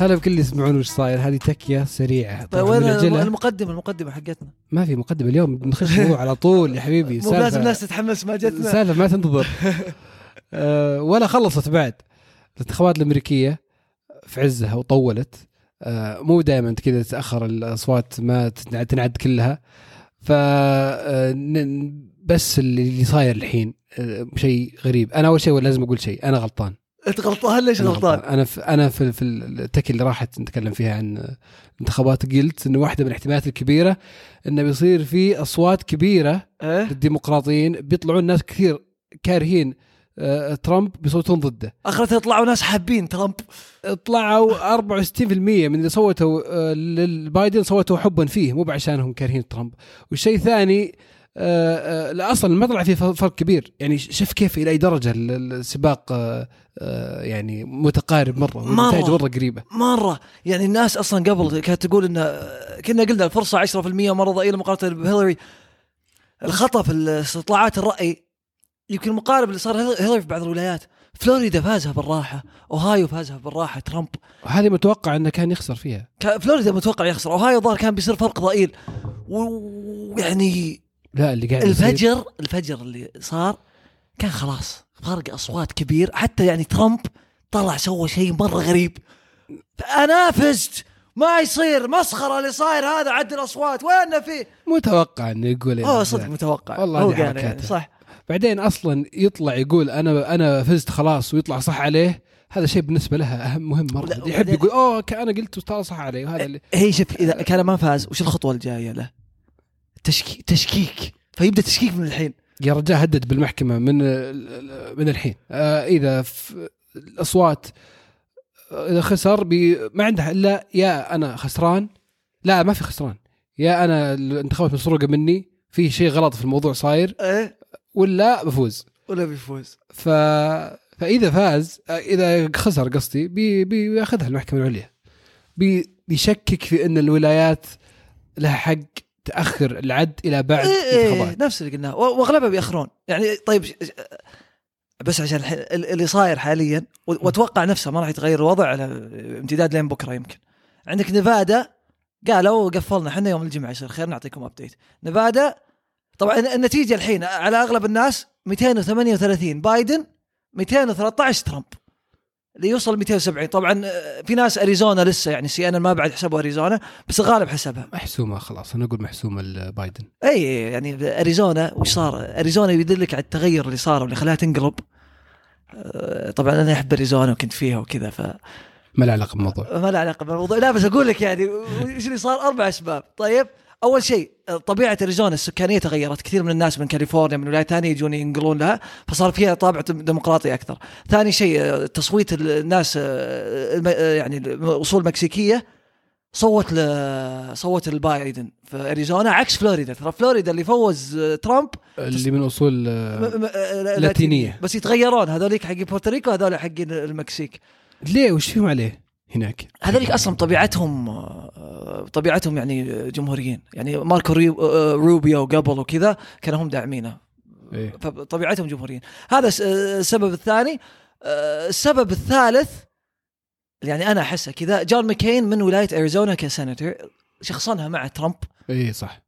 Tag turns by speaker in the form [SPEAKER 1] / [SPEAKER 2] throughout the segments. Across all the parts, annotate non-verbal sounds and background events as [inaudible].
[SPEAKER 1] هلا بكل اللي يسمعون وش صاير هذه تكيه سريعه
[SPEAKER 2] طيب
[SPEAKER 1] طبعاً
[SPEAKER 2] وين
[SPEAKER 1] منعجلة.
[SPEAKER 2] المقدمه المقدمه حقتنا
[SPEAKER 1] ما في مقدمه اليوم بنخش الموضوع على طول يا حبيبي
[SPEAKER 2] مو لازم
[SPEAKER 1] سالفة-
[SPEAKER 2] الناس تتحمس ما جتنا
[SPEAKER 1] سالفه ما
[SPEAKER 2] [laughs]
[SPEAKER 1] تنتظر آه، ولا خلصت بعد الانتخابات الامريكيه في عزها وطولت آه، مو دائما كذا تتاخر الاصوات ما تنع- تنعد كلها ف آه، ن- بس اللي اللي صاير الحين آه، شيء غريب انا اول شيء لازم اقول شيء انا غلطان
[SPEAKER 2] انت غلطان ليش
[SPEAKER 1] أنا
[SPEAKER 2] غلطان؟
[SPEAKER 1] انا في انا في, في التك اللي راحت نتكلم فيها عن الانتخابات قلت انه واحده من الاحتمالات الكبيره انه بيصير في اصوات كبيره
[SPEAKER 2] ايه
[SPEAKER 1] للديمقراطيين بيطلعون ناس كثير كارهين آه، ترامب بيصوتون ضده
[SPEAKER 2] اخرتها طلعوا ناس حابين ترامب
[SPEAKER 1] طلعوا 64% من اللي صوتوا آه، للبايدن صوتوا حبا فيه مو بعشانهم كارهين ترامب والشيء الثاني آه، آه، لا، اصلا ما طلع فيه ف- فرق كبير يعني ش- شوف كيف الى اي درجه ال- ال- السباق آه، آه، يعني متقارب مره والنتائج مره قريبه
[SPEAKER 2] مره يعني الناس اصلا قبل كانت تقول ان كنا قلنا الفرصه 10% مره ضئيله مقارنه بهيلاري الخطا في استطلاعات الراي يمكن مقارب اللي صار هيل- هيلاري في بعض الولايات فلوريدا فازها بالراحه اوهايو فازها بالراحه ترامب
[SPEAKER 1] وهذه متوقع انه كان يخسر فيها
[SPEAKER 2] كان فلوريدا متوقع يخسر اوهايو ظهر كان بيصير فرق ضئيل و- يعني ويعني
[SPEAKER 1] لا اللي قاعد يصير-
[SPEAKER 2] الفجر الفجر اللي صار كان خلاص فرق اصوات كبير حتى يعني ترامب طلع سوى شيء مره غريب انا فزت ما يصير مسخره اللي صاير هذا عد الاصوات وين فيه
[SPEAKER 1] متوقع انه يقول
[SPEAKER 2] هو
[SPEAKER 1] يعني
[SPEAKER 2] صدق متوقع
[SPEAKER 1] والله
[SPEAKER 2] هو
[SPEAKER 1] هذه
[SPEAKER 2] قال يعني
[SPEAKER 1] حركاته.
[SPEAKER 2] صح
[SPEAKER 1] بعدين اصلا يطلع يقول انا انا فزت خلاص ويطلع صح عليه هذا شيء بالنسبه لها اهم مهم
[SPEAKER 2] لا،
[SPEAKER 1] مره يحب
[SPEAKER 2] وبعدين-
[SPEAKER 1] يقول اوه ك- انا قلت وترى صح علي وهذا اللي
[SPEAKER 2] هي شوف اذا كان ما فاز وش الخطوه الجايه له تشكيك تشكيك فيبدا تشكيك من الحين
[SPEAKER 1] يا رجال هدد بالمحكمه من ال- ال- من الحين آه، اذا ف- الاصوات آه، اذا خسر بي ما عنده الا يا انا خسران لا ما في خسران يا انا الانتخابات مسروقه مني في شيء غلط في الموضوع صاير
[SPEAKER 2] ايه
[SPEAKER 1] ولا بفوز
[SPEAKER 2] ولا بيفوز
[SPEAKER 1] ف فاذا فاز اذا خسر قصدي بي بياخذها المحكمه العليا بي بيشكك في ان الولايات لها حق تاخر العد الى بعد
[SPEAKER 2] إيه إيه
[SPEAKER 1] الانتخابات
[SPEAKER 2] نفس اللي قلناه و- واغلبها بيأخرون يعني طيب ش- ش- بس عشان الحين- ال- اللي صاير حاليا و- واتوقع نفسه ما راح يتغير الوضع على امتداد لين بكره يمكن عندك نيفادا قالوا قفلنا احنا يوم الجمعه يصير خير نعطيكم ابديت نيفادا طبعا النتيجه الحين على اغلب الناس 238 بايدن 213 ترامب اللي يوصل 270 طبعا آه، في ناس اريزونا لسه يعني سي ان ما بعد حسبوا اريزونا بس غالب حسبها
[SPEAKER 1] محسومه خلاص انا اقول محسومه بايدن
[SPEAKER 2] اي يعني اريزونا وش صار؟ اريزونا يدلك على التغير اللي صار واللي خلاها تنقلب أه، طبعا انا احب اريزونا وكنت فيها وكذا فما
[SPEAKER 1] ما له علاقه بالموضوع
[SPEAKER 2] له علاقه بالموضوع لا بس اقول لك يعني ايش اللي صار اربع اسباب طيب اول شيء أه، طبيعه اريزونا السكانيه تغيرت كثير من الناس من كاليفورنيا من ولايات ثانيه يجون ينقلون لها فصار فيها طابع دم- ديمقراطي اكثر ثاني شيء أه، تصويت الناس أه، الم- أه، يعني الاصول مكسيكيه صوت ل... صوت البايدن في اريزونا عكس فلوريدا ترى فلوريدا اللي فوز آه، ترامب
[SPEAKER 1] اللي من اصول آه،
[SPEAKER 2] م... م... آه، لا-
[SPEAKER 1] لاتينية.
[SPEAKER 2] بس يتغيرون هذوليك حق بورتوريكو هذول حق المكسيك
[SPEAKER 1] ليه وش فيهم عليه هناك
[SPEAKER 2] هذوليك اصلا طبيعتهم آه، طبيعتهم يعني جمهوريين يعني ماركو ريو... آه، روبيو قبل وكذا كانوا هم داعمينه
[SPEAKER 1] إيه.
[SPEAKER 2] فطبيعتهم جمهوريين هذا الس- السبب الثاني آه، السبب الثالث يعني انا احسه كذا جون ماكين من ولايه اريزونا كسنتر شخصنها مع ترامب
[SPEAKER 1] اي إيه، صح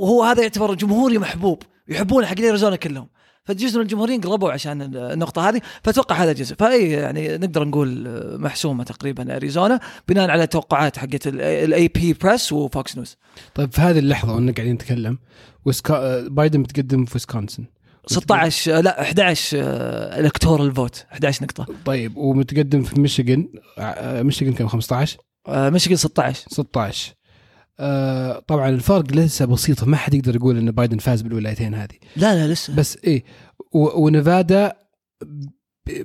[SPEAKER 2] وهو هذا يعتبر جمهوري محبوب يحبون حق اريزونا كلهم فجزء من الجمهوريين قلبوا عشان النقطه هذه فاتوقع هذا جزء فاي يعني نقدر نقول محسومه تقريبا اريزونا بناء على توقعات حقت الاي بي بريس وفوكس نيوز
[SPEAKER 1] طيب في هذه اللحظه وانا قاعدين نتكلم وسكا... آه، بايدن بتقدم في ويسكونسن
[SPEAKER 2] إيه. 16 لا 11 الكتورال فوت 11 نقطه
[SPEAKER 1] طيب ومتقدم في ميشيغن آه، ميشيغن كان 15
[SPEAKER 2] ميشيغان 16
[SPEAKER 1] 16 آه طبعا الفرق لسه بسيط ما حد يقدر يقول ان بايدن فاز بالولايتين هذه
[SPEAKER 2] لا لا لسه
[SPEAKER 1] بس ايه و- ونيفادا ب-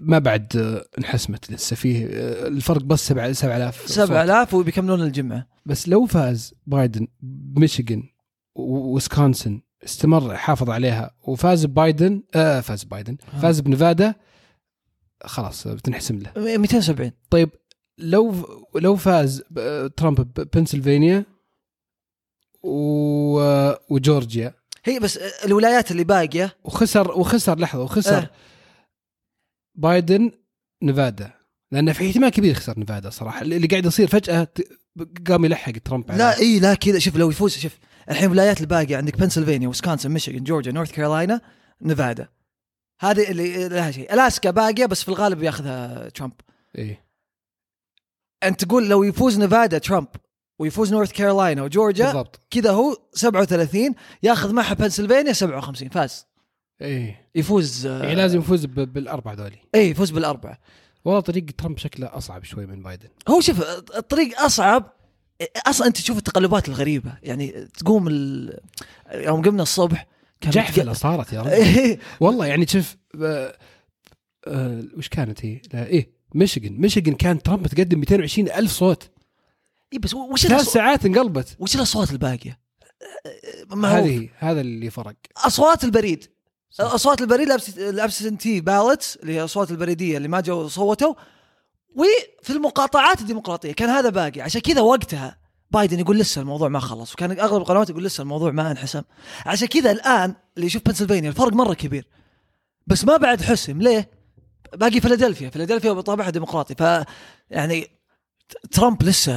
[SPEAKER 1] ما بعد آه، انحسمت لسه فيه آه، الفرق بس 7 7000 صوت.
[SPEAKER 2] 7000 وبيكملون الجمعه
[SPEAKER 1] بس لو فاز بايدن بميشيغن وويسكونسن استمر حافظ عليها وفاز بايدن آه فاز بايدن
[SPEAKER 2] آه.
[SPEAKER 1] فاز بنيفادا خلاص آه، بتنحسم له
[SPEAKER 2] 270
[SPEAKER 1] طيب لو لو فاز ب- ترامب بنسلفانيا و... وجورجيا
[SPEAKER 2] هي بس الولايات اللي باقيه
[SPEAKER 1] وخسر وخسر لحظه وخسر
[SPEAKER 2] آه.
[SPEAKER 1] بايدن نيفادا لان في احتمال كبير يخسر نيفادا صراحه اللي قاعد يصير فجاه ت- قام يلحق ترامب على-
[SPEAKER 2] لا اي لا كذا شوف لو يفوز شوف الحين ولايات الباقيه عندك بنسلفانيا وسكانسن ميشيغان جورجيا نورث كارولاينا نيفادا هذه اللي لها شيء الاسكا باقيه بس في الغالب بياخذها ترامب
[SPEAKER 1] إيه.
[SPEAKER 2] انت تقول لو يفوز نيفادا ترامب ويفوز نورث كارولاينا وجورجيا
[SPEAKER 1] بالضبط
[SPEAKER 2] كذا هو 37 ياخذ معها بنسلفانيا 57 فاز
[SPEAKER 1] ايه
[SPEAKER 2] يفوز
[SPEAKER 1] يعني
[SPEAKER 2] آه،
[SPEAKER 1] لازم يفوز ب- بالاربعه ذولي
[SPEAKER 2] اي يفوز بالاربعه
[SPEAKER 1] والله طريق ترامب شكله اصعب شوي من بايدن
[SPEAKER 2] هو شوف الطريق اصعب اصلا انت تشوف التقلبات الغريبه يعني تقوم ال... يوم قمنا الصبح كان
[SPEAKER 1] جحفله صارت يا
[SPEAKER 2] [laughs]
[SPEAKER 1] رجل
[SPEAKER 2] إيه،
[SPEAKER 1] والله يعني شوف آه، آه، وش كانت هي؟ لا، ايه ميشيغن ميشيغن كان ترامب متقدم 220 الف صوت
[SPEAKER 2] اي إيه بس وش
[SPEAKER 1] ثلاث
[SPEAKER 2] الأصوات
[SPEAKER 1] ساعات انقلبت
[SPEAKER 2] وش الاصوات الباقيه؟ ما هو
[SPEAKER 1] هذه هذا اللي فرق
[SPEAKER 2] اصوات البريد
[SPEAKER 1] صح.
[SPEAKER 2] اصوات البريد الابسنتي بالتس اللي هي الاصوات البريديه اللي ما جو صوتوا وفي المقاطعات الديمقراطيه كان هذا باقي عشان كذا وقتها بايدن يقول لسه الموضوع ما خلص وكان اغلب القنوات يقول لسه الموضوع ما انحسم عشان كذا الان اللي يشوف بنسلفانيا الفرق مره كبير بس ما بعد حسم ليه؟ باقي فيلادلفيا فيلادلفيا بطابعها ديمقراطي ف يعني ت- ترامب لسه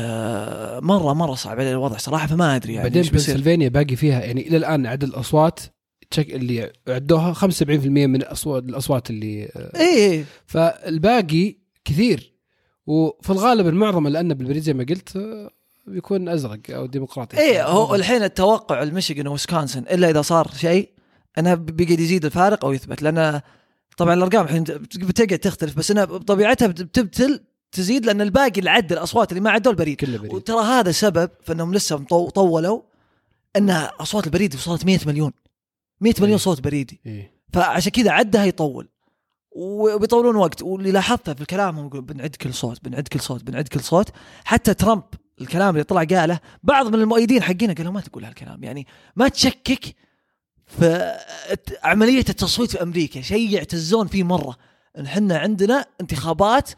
[SPEAKER 2] مره مره صعب عليه الوضع صراحه فما ادري يعني
[SPEAKER 1] بعدين
[SPEAKER 2] إيش بيصير.
[SPEAKER 1] بنسلفانيا باقي فيها يعني الى الان عدد الاصوات تشك اللي عدوها 75% من الاصوات الاصوات اللي آه،
[SPEAKER 2] اي إي.
[SPEAKER 1] فالباقي كثير وفي الغالب المعظم لانه بالبريد زي ما قلت آه، بيكون ازرق او ديمقراطي
[SPEAKER 2] ايه هو الحين التوقع المشيغن ووسكانسن الا اذا صار شيء انه بيقعد يزيد الفارق او يثبت لان طبعا الارقام الحين بتقعد تختلف بس انها بطبيعتها بت- بتبتل تزيد لان الباقي اللي عدى الاصوات اللي ما عدوا البريد
[SPEAKER 1] كله بريد
[SPEAKER 2] وترى هذا سبب في انهم لسه مطو- طولوا ان اصوات البريد وصلت 100 مليون 100
[SPEAKER 1] إيه.
[SPEAKER 2] مليون صوت بريدي
[SPEAKER 1] إيه.
[SPEAKER 2] فعشان كذا عدها يطول وبيطولون وقت واللي لاحظته في كلامهم يقول بنعد كل صوت بنعد كل صوت بنعد كل صوت حتى ترامب الكلام اللي طلع قاله بعض من المؤيدين حقينا قالوا ما تقول هالكلام يعني ما تشكك في عملية التصويت في أمريكا شيء يعتزون فيه مرة إن حنا عندنا انتخابات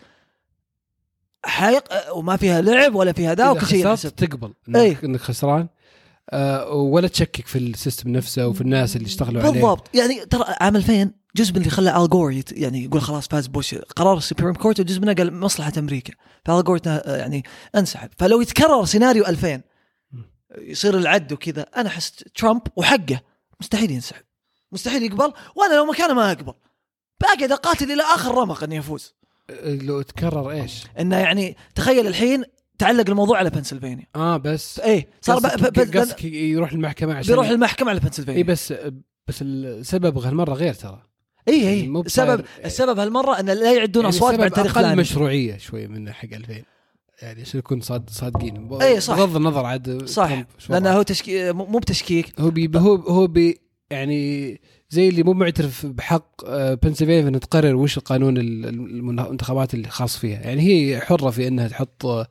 [SPEAKER 2] حايق وما فيها لعب ولا فيها ذا
[SPEAKER 1] إذا
[SPEAKER 2] وكل شيء
[SPEAKER 1] خسرت
[SPEAKER 2] ينحسب.
[SPEAKER 1] تقبل انك,
[SPEAKER 2] إيه.
[SPEAKER 1] انك خسران آه ولا تشكك في السيستم نفسه وفي الناس اللي اشتغلوا عليه
[SPEAKER 2] بالضبط يعني ترى عام 2000 جزء من اللي خلى الجور يعني يقول خلاص فاز بوش قرار السوبريم كورت وجزء منه قال مصلحه امريكا فالجور يعني انسحب فلو يتكرر سيناريو 2000 يصير العد وكذا انا احس ترامب وحقه مستحيل ينسحب مستحيل يقبل وانا لو مكانه ما اقبل بقعد اقاتل الى اخر رمق اني افوز
[SPEAKER 1] آه، لو تكرر ايش؟
[SPEAKER 2] انه يعني تخيل الحين تعلق الموضوع على بنسلفانيا
[SPEAKER 1] اه بس
[SPEAKER 2] ايه صار ب- ب-
[SPEAKER 1] قصدك-
[SPEAKER 2] ب-
[SPEAKER 1] قصدك يروح المحكمه عشان
[SPEAKER 2] بيروح المحكمة على
[SPEAKER 1] اي
[SPEAKER 2] بنسلفانيا
[SPEAKER 1] بس بس السبب هالمره غير ترى
[SPEAKER 2] اي
[SPEAKER 1] يعني مو
[SPEAKER 2] اي
[SPEAKER 1] بصاير-
[SPEAKER 2] السبب إيه. السبب هالمره ان لا يعدون اصوات
[SPEAKER 1] يعني السبب
[SPEAKER 2] بعد تاريخ
[SPEAKER 1] اقل
[SPEAKER 2] ثاني.
[SPEAKER 1] مشروعيه شوي من حق 2000 يعني عشان نكون صاد صادقين ب-
[SPEAKER 2] إي إيه، صح.
[SPEAKER 1] بغض النظر عاد
[SPEAKER 2] صح
[SPEAKER 1] ترامب شو
[SPEAKER 2] لانه
[SPEAKER 1] وضعه.
[SPEAKER 2] هو تشكي مو مو بتشكيك
[SPEAKER 1] هو بي هو هو بي يعني زي اللي مو معترف بحق آه، بنسلفانيا انها تقرر وش القانون ال- ال- الانتخابات اللي خاص فيها يعني هي حره في انها تحط آه،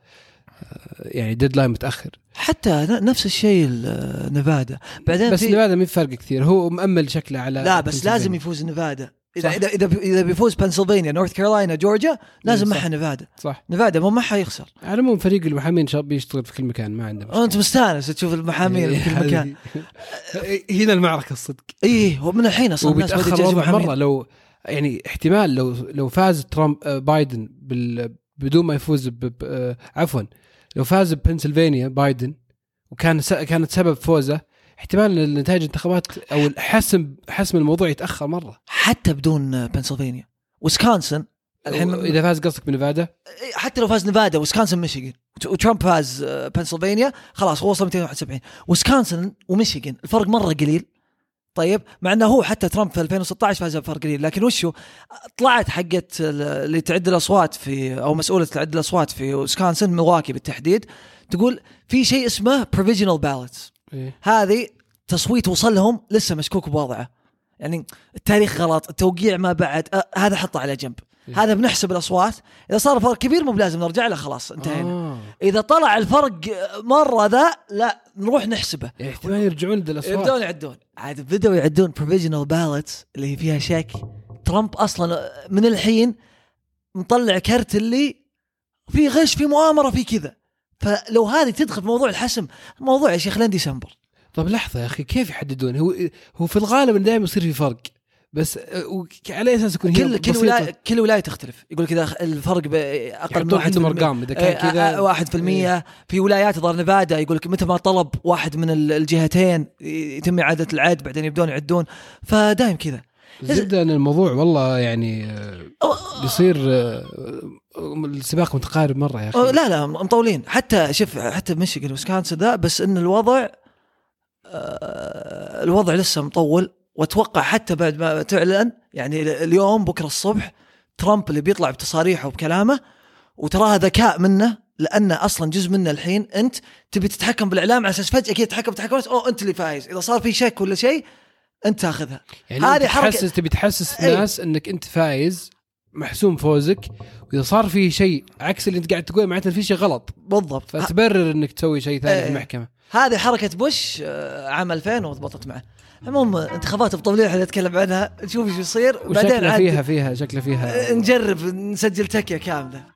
[SPEAKER 1] يعني ديدلاين متاخر
[SPEAKER 2] حتى ن- نفس الشيء ال- نيفادا بعدين
[SPEAKER 1] بس
[SPEAKER 2] في-
[SPEAKER 1] لماذا ما في فرق كثير هو مأمل شكله على
[SPEAKER 2] لا بس
[SPEAKER 1] بنسلفانيا.
[SPEAKER 2] لازم يفوز نيفادا اذا
[SPEAKER 1] صح.
[SPEAKER 2] اذا اذا بي- اذا بيفوز بنسلفانيا نورث كارولاينا جورجيا لازم
[SPEAKER 1] إيه، صح.
[SPEAKER 2] معها نيفادا
[SPEAKER 1] صح
[SPEAKER 2] نيفادا مو معها يخسر
[SPEAKER 1] على العموم فريق المحامين شاب بيشتغل في كل مكان ما عنده مشكلة.
[SPEAKER 2] انت مستانس تشوف المحامين
[SPEAKER 1] إيه،
[SPEAKER 2] في
[SPEAKER 1] [laughs]
[SPEAKER 2] كل مكان
[SPEAKER 1] هنا المعركه الصدق
[SPEAKER 2] اي إيه، هو من الحين اصلا الناس بدأت
[SPEAKER 1] وبيتاخر
[SPEAKER 2] تجي
[SPEAKER 1] الوضع
[SPEAKER 2] محامين.
[SPEAKER 1] مره لو يعني احتمال لو لو فاز ترامب آه، بايدن بال بدون ما يفوز ب- ب- آه، عفوا لو فاز ببنسلفانيا بايدن وكان س- كانت سبب فوزه احتمال إن نتائج الانتخابات او حسم حسم الموضوع يتاخر مره
[SPEAKER 2] حتى بدون بنسلفانيا وسكانسن الحين
[SPEAKER 1] اذا فاز قصدك بنيفادا
[SPEAKER 2] إيه، حتى لو فاز نيفادا وسكانسن ميشيغن وت- وترامب فاز آه، بنسلفانيا خلاص هو وصل 271 وسكانسن وميشيغن الفرق مره قليل طيب مع انه هو حتى ترامب في 2016 فاز بفرق قليل لكن وشو طلعت حقت ال- اللي تعد الاصوات في او مسؤوله تعد الاصوات في وسكانسن مواكي بالتحديد تقول في شيء اسمه بروفيجنال بالوتس
[SPEAKER 1] إيه.
[SPEAKER 2] هذه تصويت وصل لهم لسه مشكوك بوضعه يعني التاريخ غلط التوقيع ما بعد أه هذا حطه على جنب
[SPEAKER 1] إيه.
[SPEAKER 2] هذا بنحسب الاصوات اذا صار فرق كبير مو بلازم نرجع له خلاص انتهينا
[SPEAKER 1] آه.
[SPEAKER 2] اذا طلع الفرق مره ذا لا نروح نحسبه
[SPEAKER 1] يعني احتمال يرجعون لذي الاصوات
[SPEAKER 2] يبدون يعدون عاد بدأوا يعدون بروفيجنال بالوتس اللي هي فيها شك ترامب اصلا من الحين مطلع كرت اللي في غش في مؤامره في كذا فلو هذه تدخل في موضوع الحسم موضوع يا شيخ لين ديسمبر
[SPEAKER 1] طيب طب لحظة يا أخي كيف يحددون هو هو في الغالب إنه دائما يصير في فرق بس آه، وك- على اساس يكون هي
[SPEAKER 2] كل كل
[SPEAKER 1] بسيطة.
[SPEAKER 2] ولايه كل ولايه تختلف يقول لك اذا الفرق ب- اقل من
[SPEAKER 1] يعطون حتى
[SPEAKER 2] 1%
[SPEAKER 1] ارقام اذا كان
[SPEAKER 2] طيب، آه، آه،
[SPEAKER 1] كذا إيه.
[SPEAKER 2] 1% في ولايات ظهر نفادا يقول لك متى ما طلب واحد من ال- الجهتين يتم اعاده العد بعدين يبدون يعدون فدايم كذا
[SPEAKER 1] الزبده ان الموضوع والله يعني آه،
[SPEAKER 2] أو-
[SPEAKER 1] بيصير آه، آه، السباق متقارب مره يا اخي
[SPEAKER 2] أو لا لا مطولين حتى شوف حتى ميشيغن وسكانسن ذا بس ان الوضع آه، الوضع لسه مطول واتوقع حتى بعد ما تعلن يعني ال- اليوم بكره الصبح ترامب اللي بيطلع بتصاريحه وبكلامه وتراها ذكاء منه لانه اصلا جزء منه الحين انت تبي تتحكم بالاعلام على اساس فجاه كذا تحكم تحكم او انت اللي فايز اذا صار في شك ولا شيء انت تاخذها
[SPEAKER 1] يعني
[SPEAKER 2] هذه
[SPEAKER 1] هذه
[SPEAKER 2] حركة-
[SPEAKER 1] تحسس تبي تحسس
[SPEAKER 2] إيه.
[SPEAKER 1] الناس انك انت فايز محسوم فوزك واذا صار فيه شيء عكس اللي انت قاعد تقوله معناته في شيء غلط
[SPEAKER 2] بالضبط ه-
[SPEAKER 1] فتبرر انك تسوي شيء ثاني
[SPEAKER 2] إيه.
[SPEAKER 1] في المحكمه
[SPEAKER 2] هذه حركه بوش آه، عام 2000 وضبطت معه المهم انتخابات بطبليه احنا نتكلم عنها نشوف ايش يصير وبعدين
[SPEAKER 1] وشكله
[SPEAKER 2] عاد إيه،
[SPEAKER 1] فيها فيها شكله فيها
[SPEAKER 2] نجرب نسجل تكيه كامله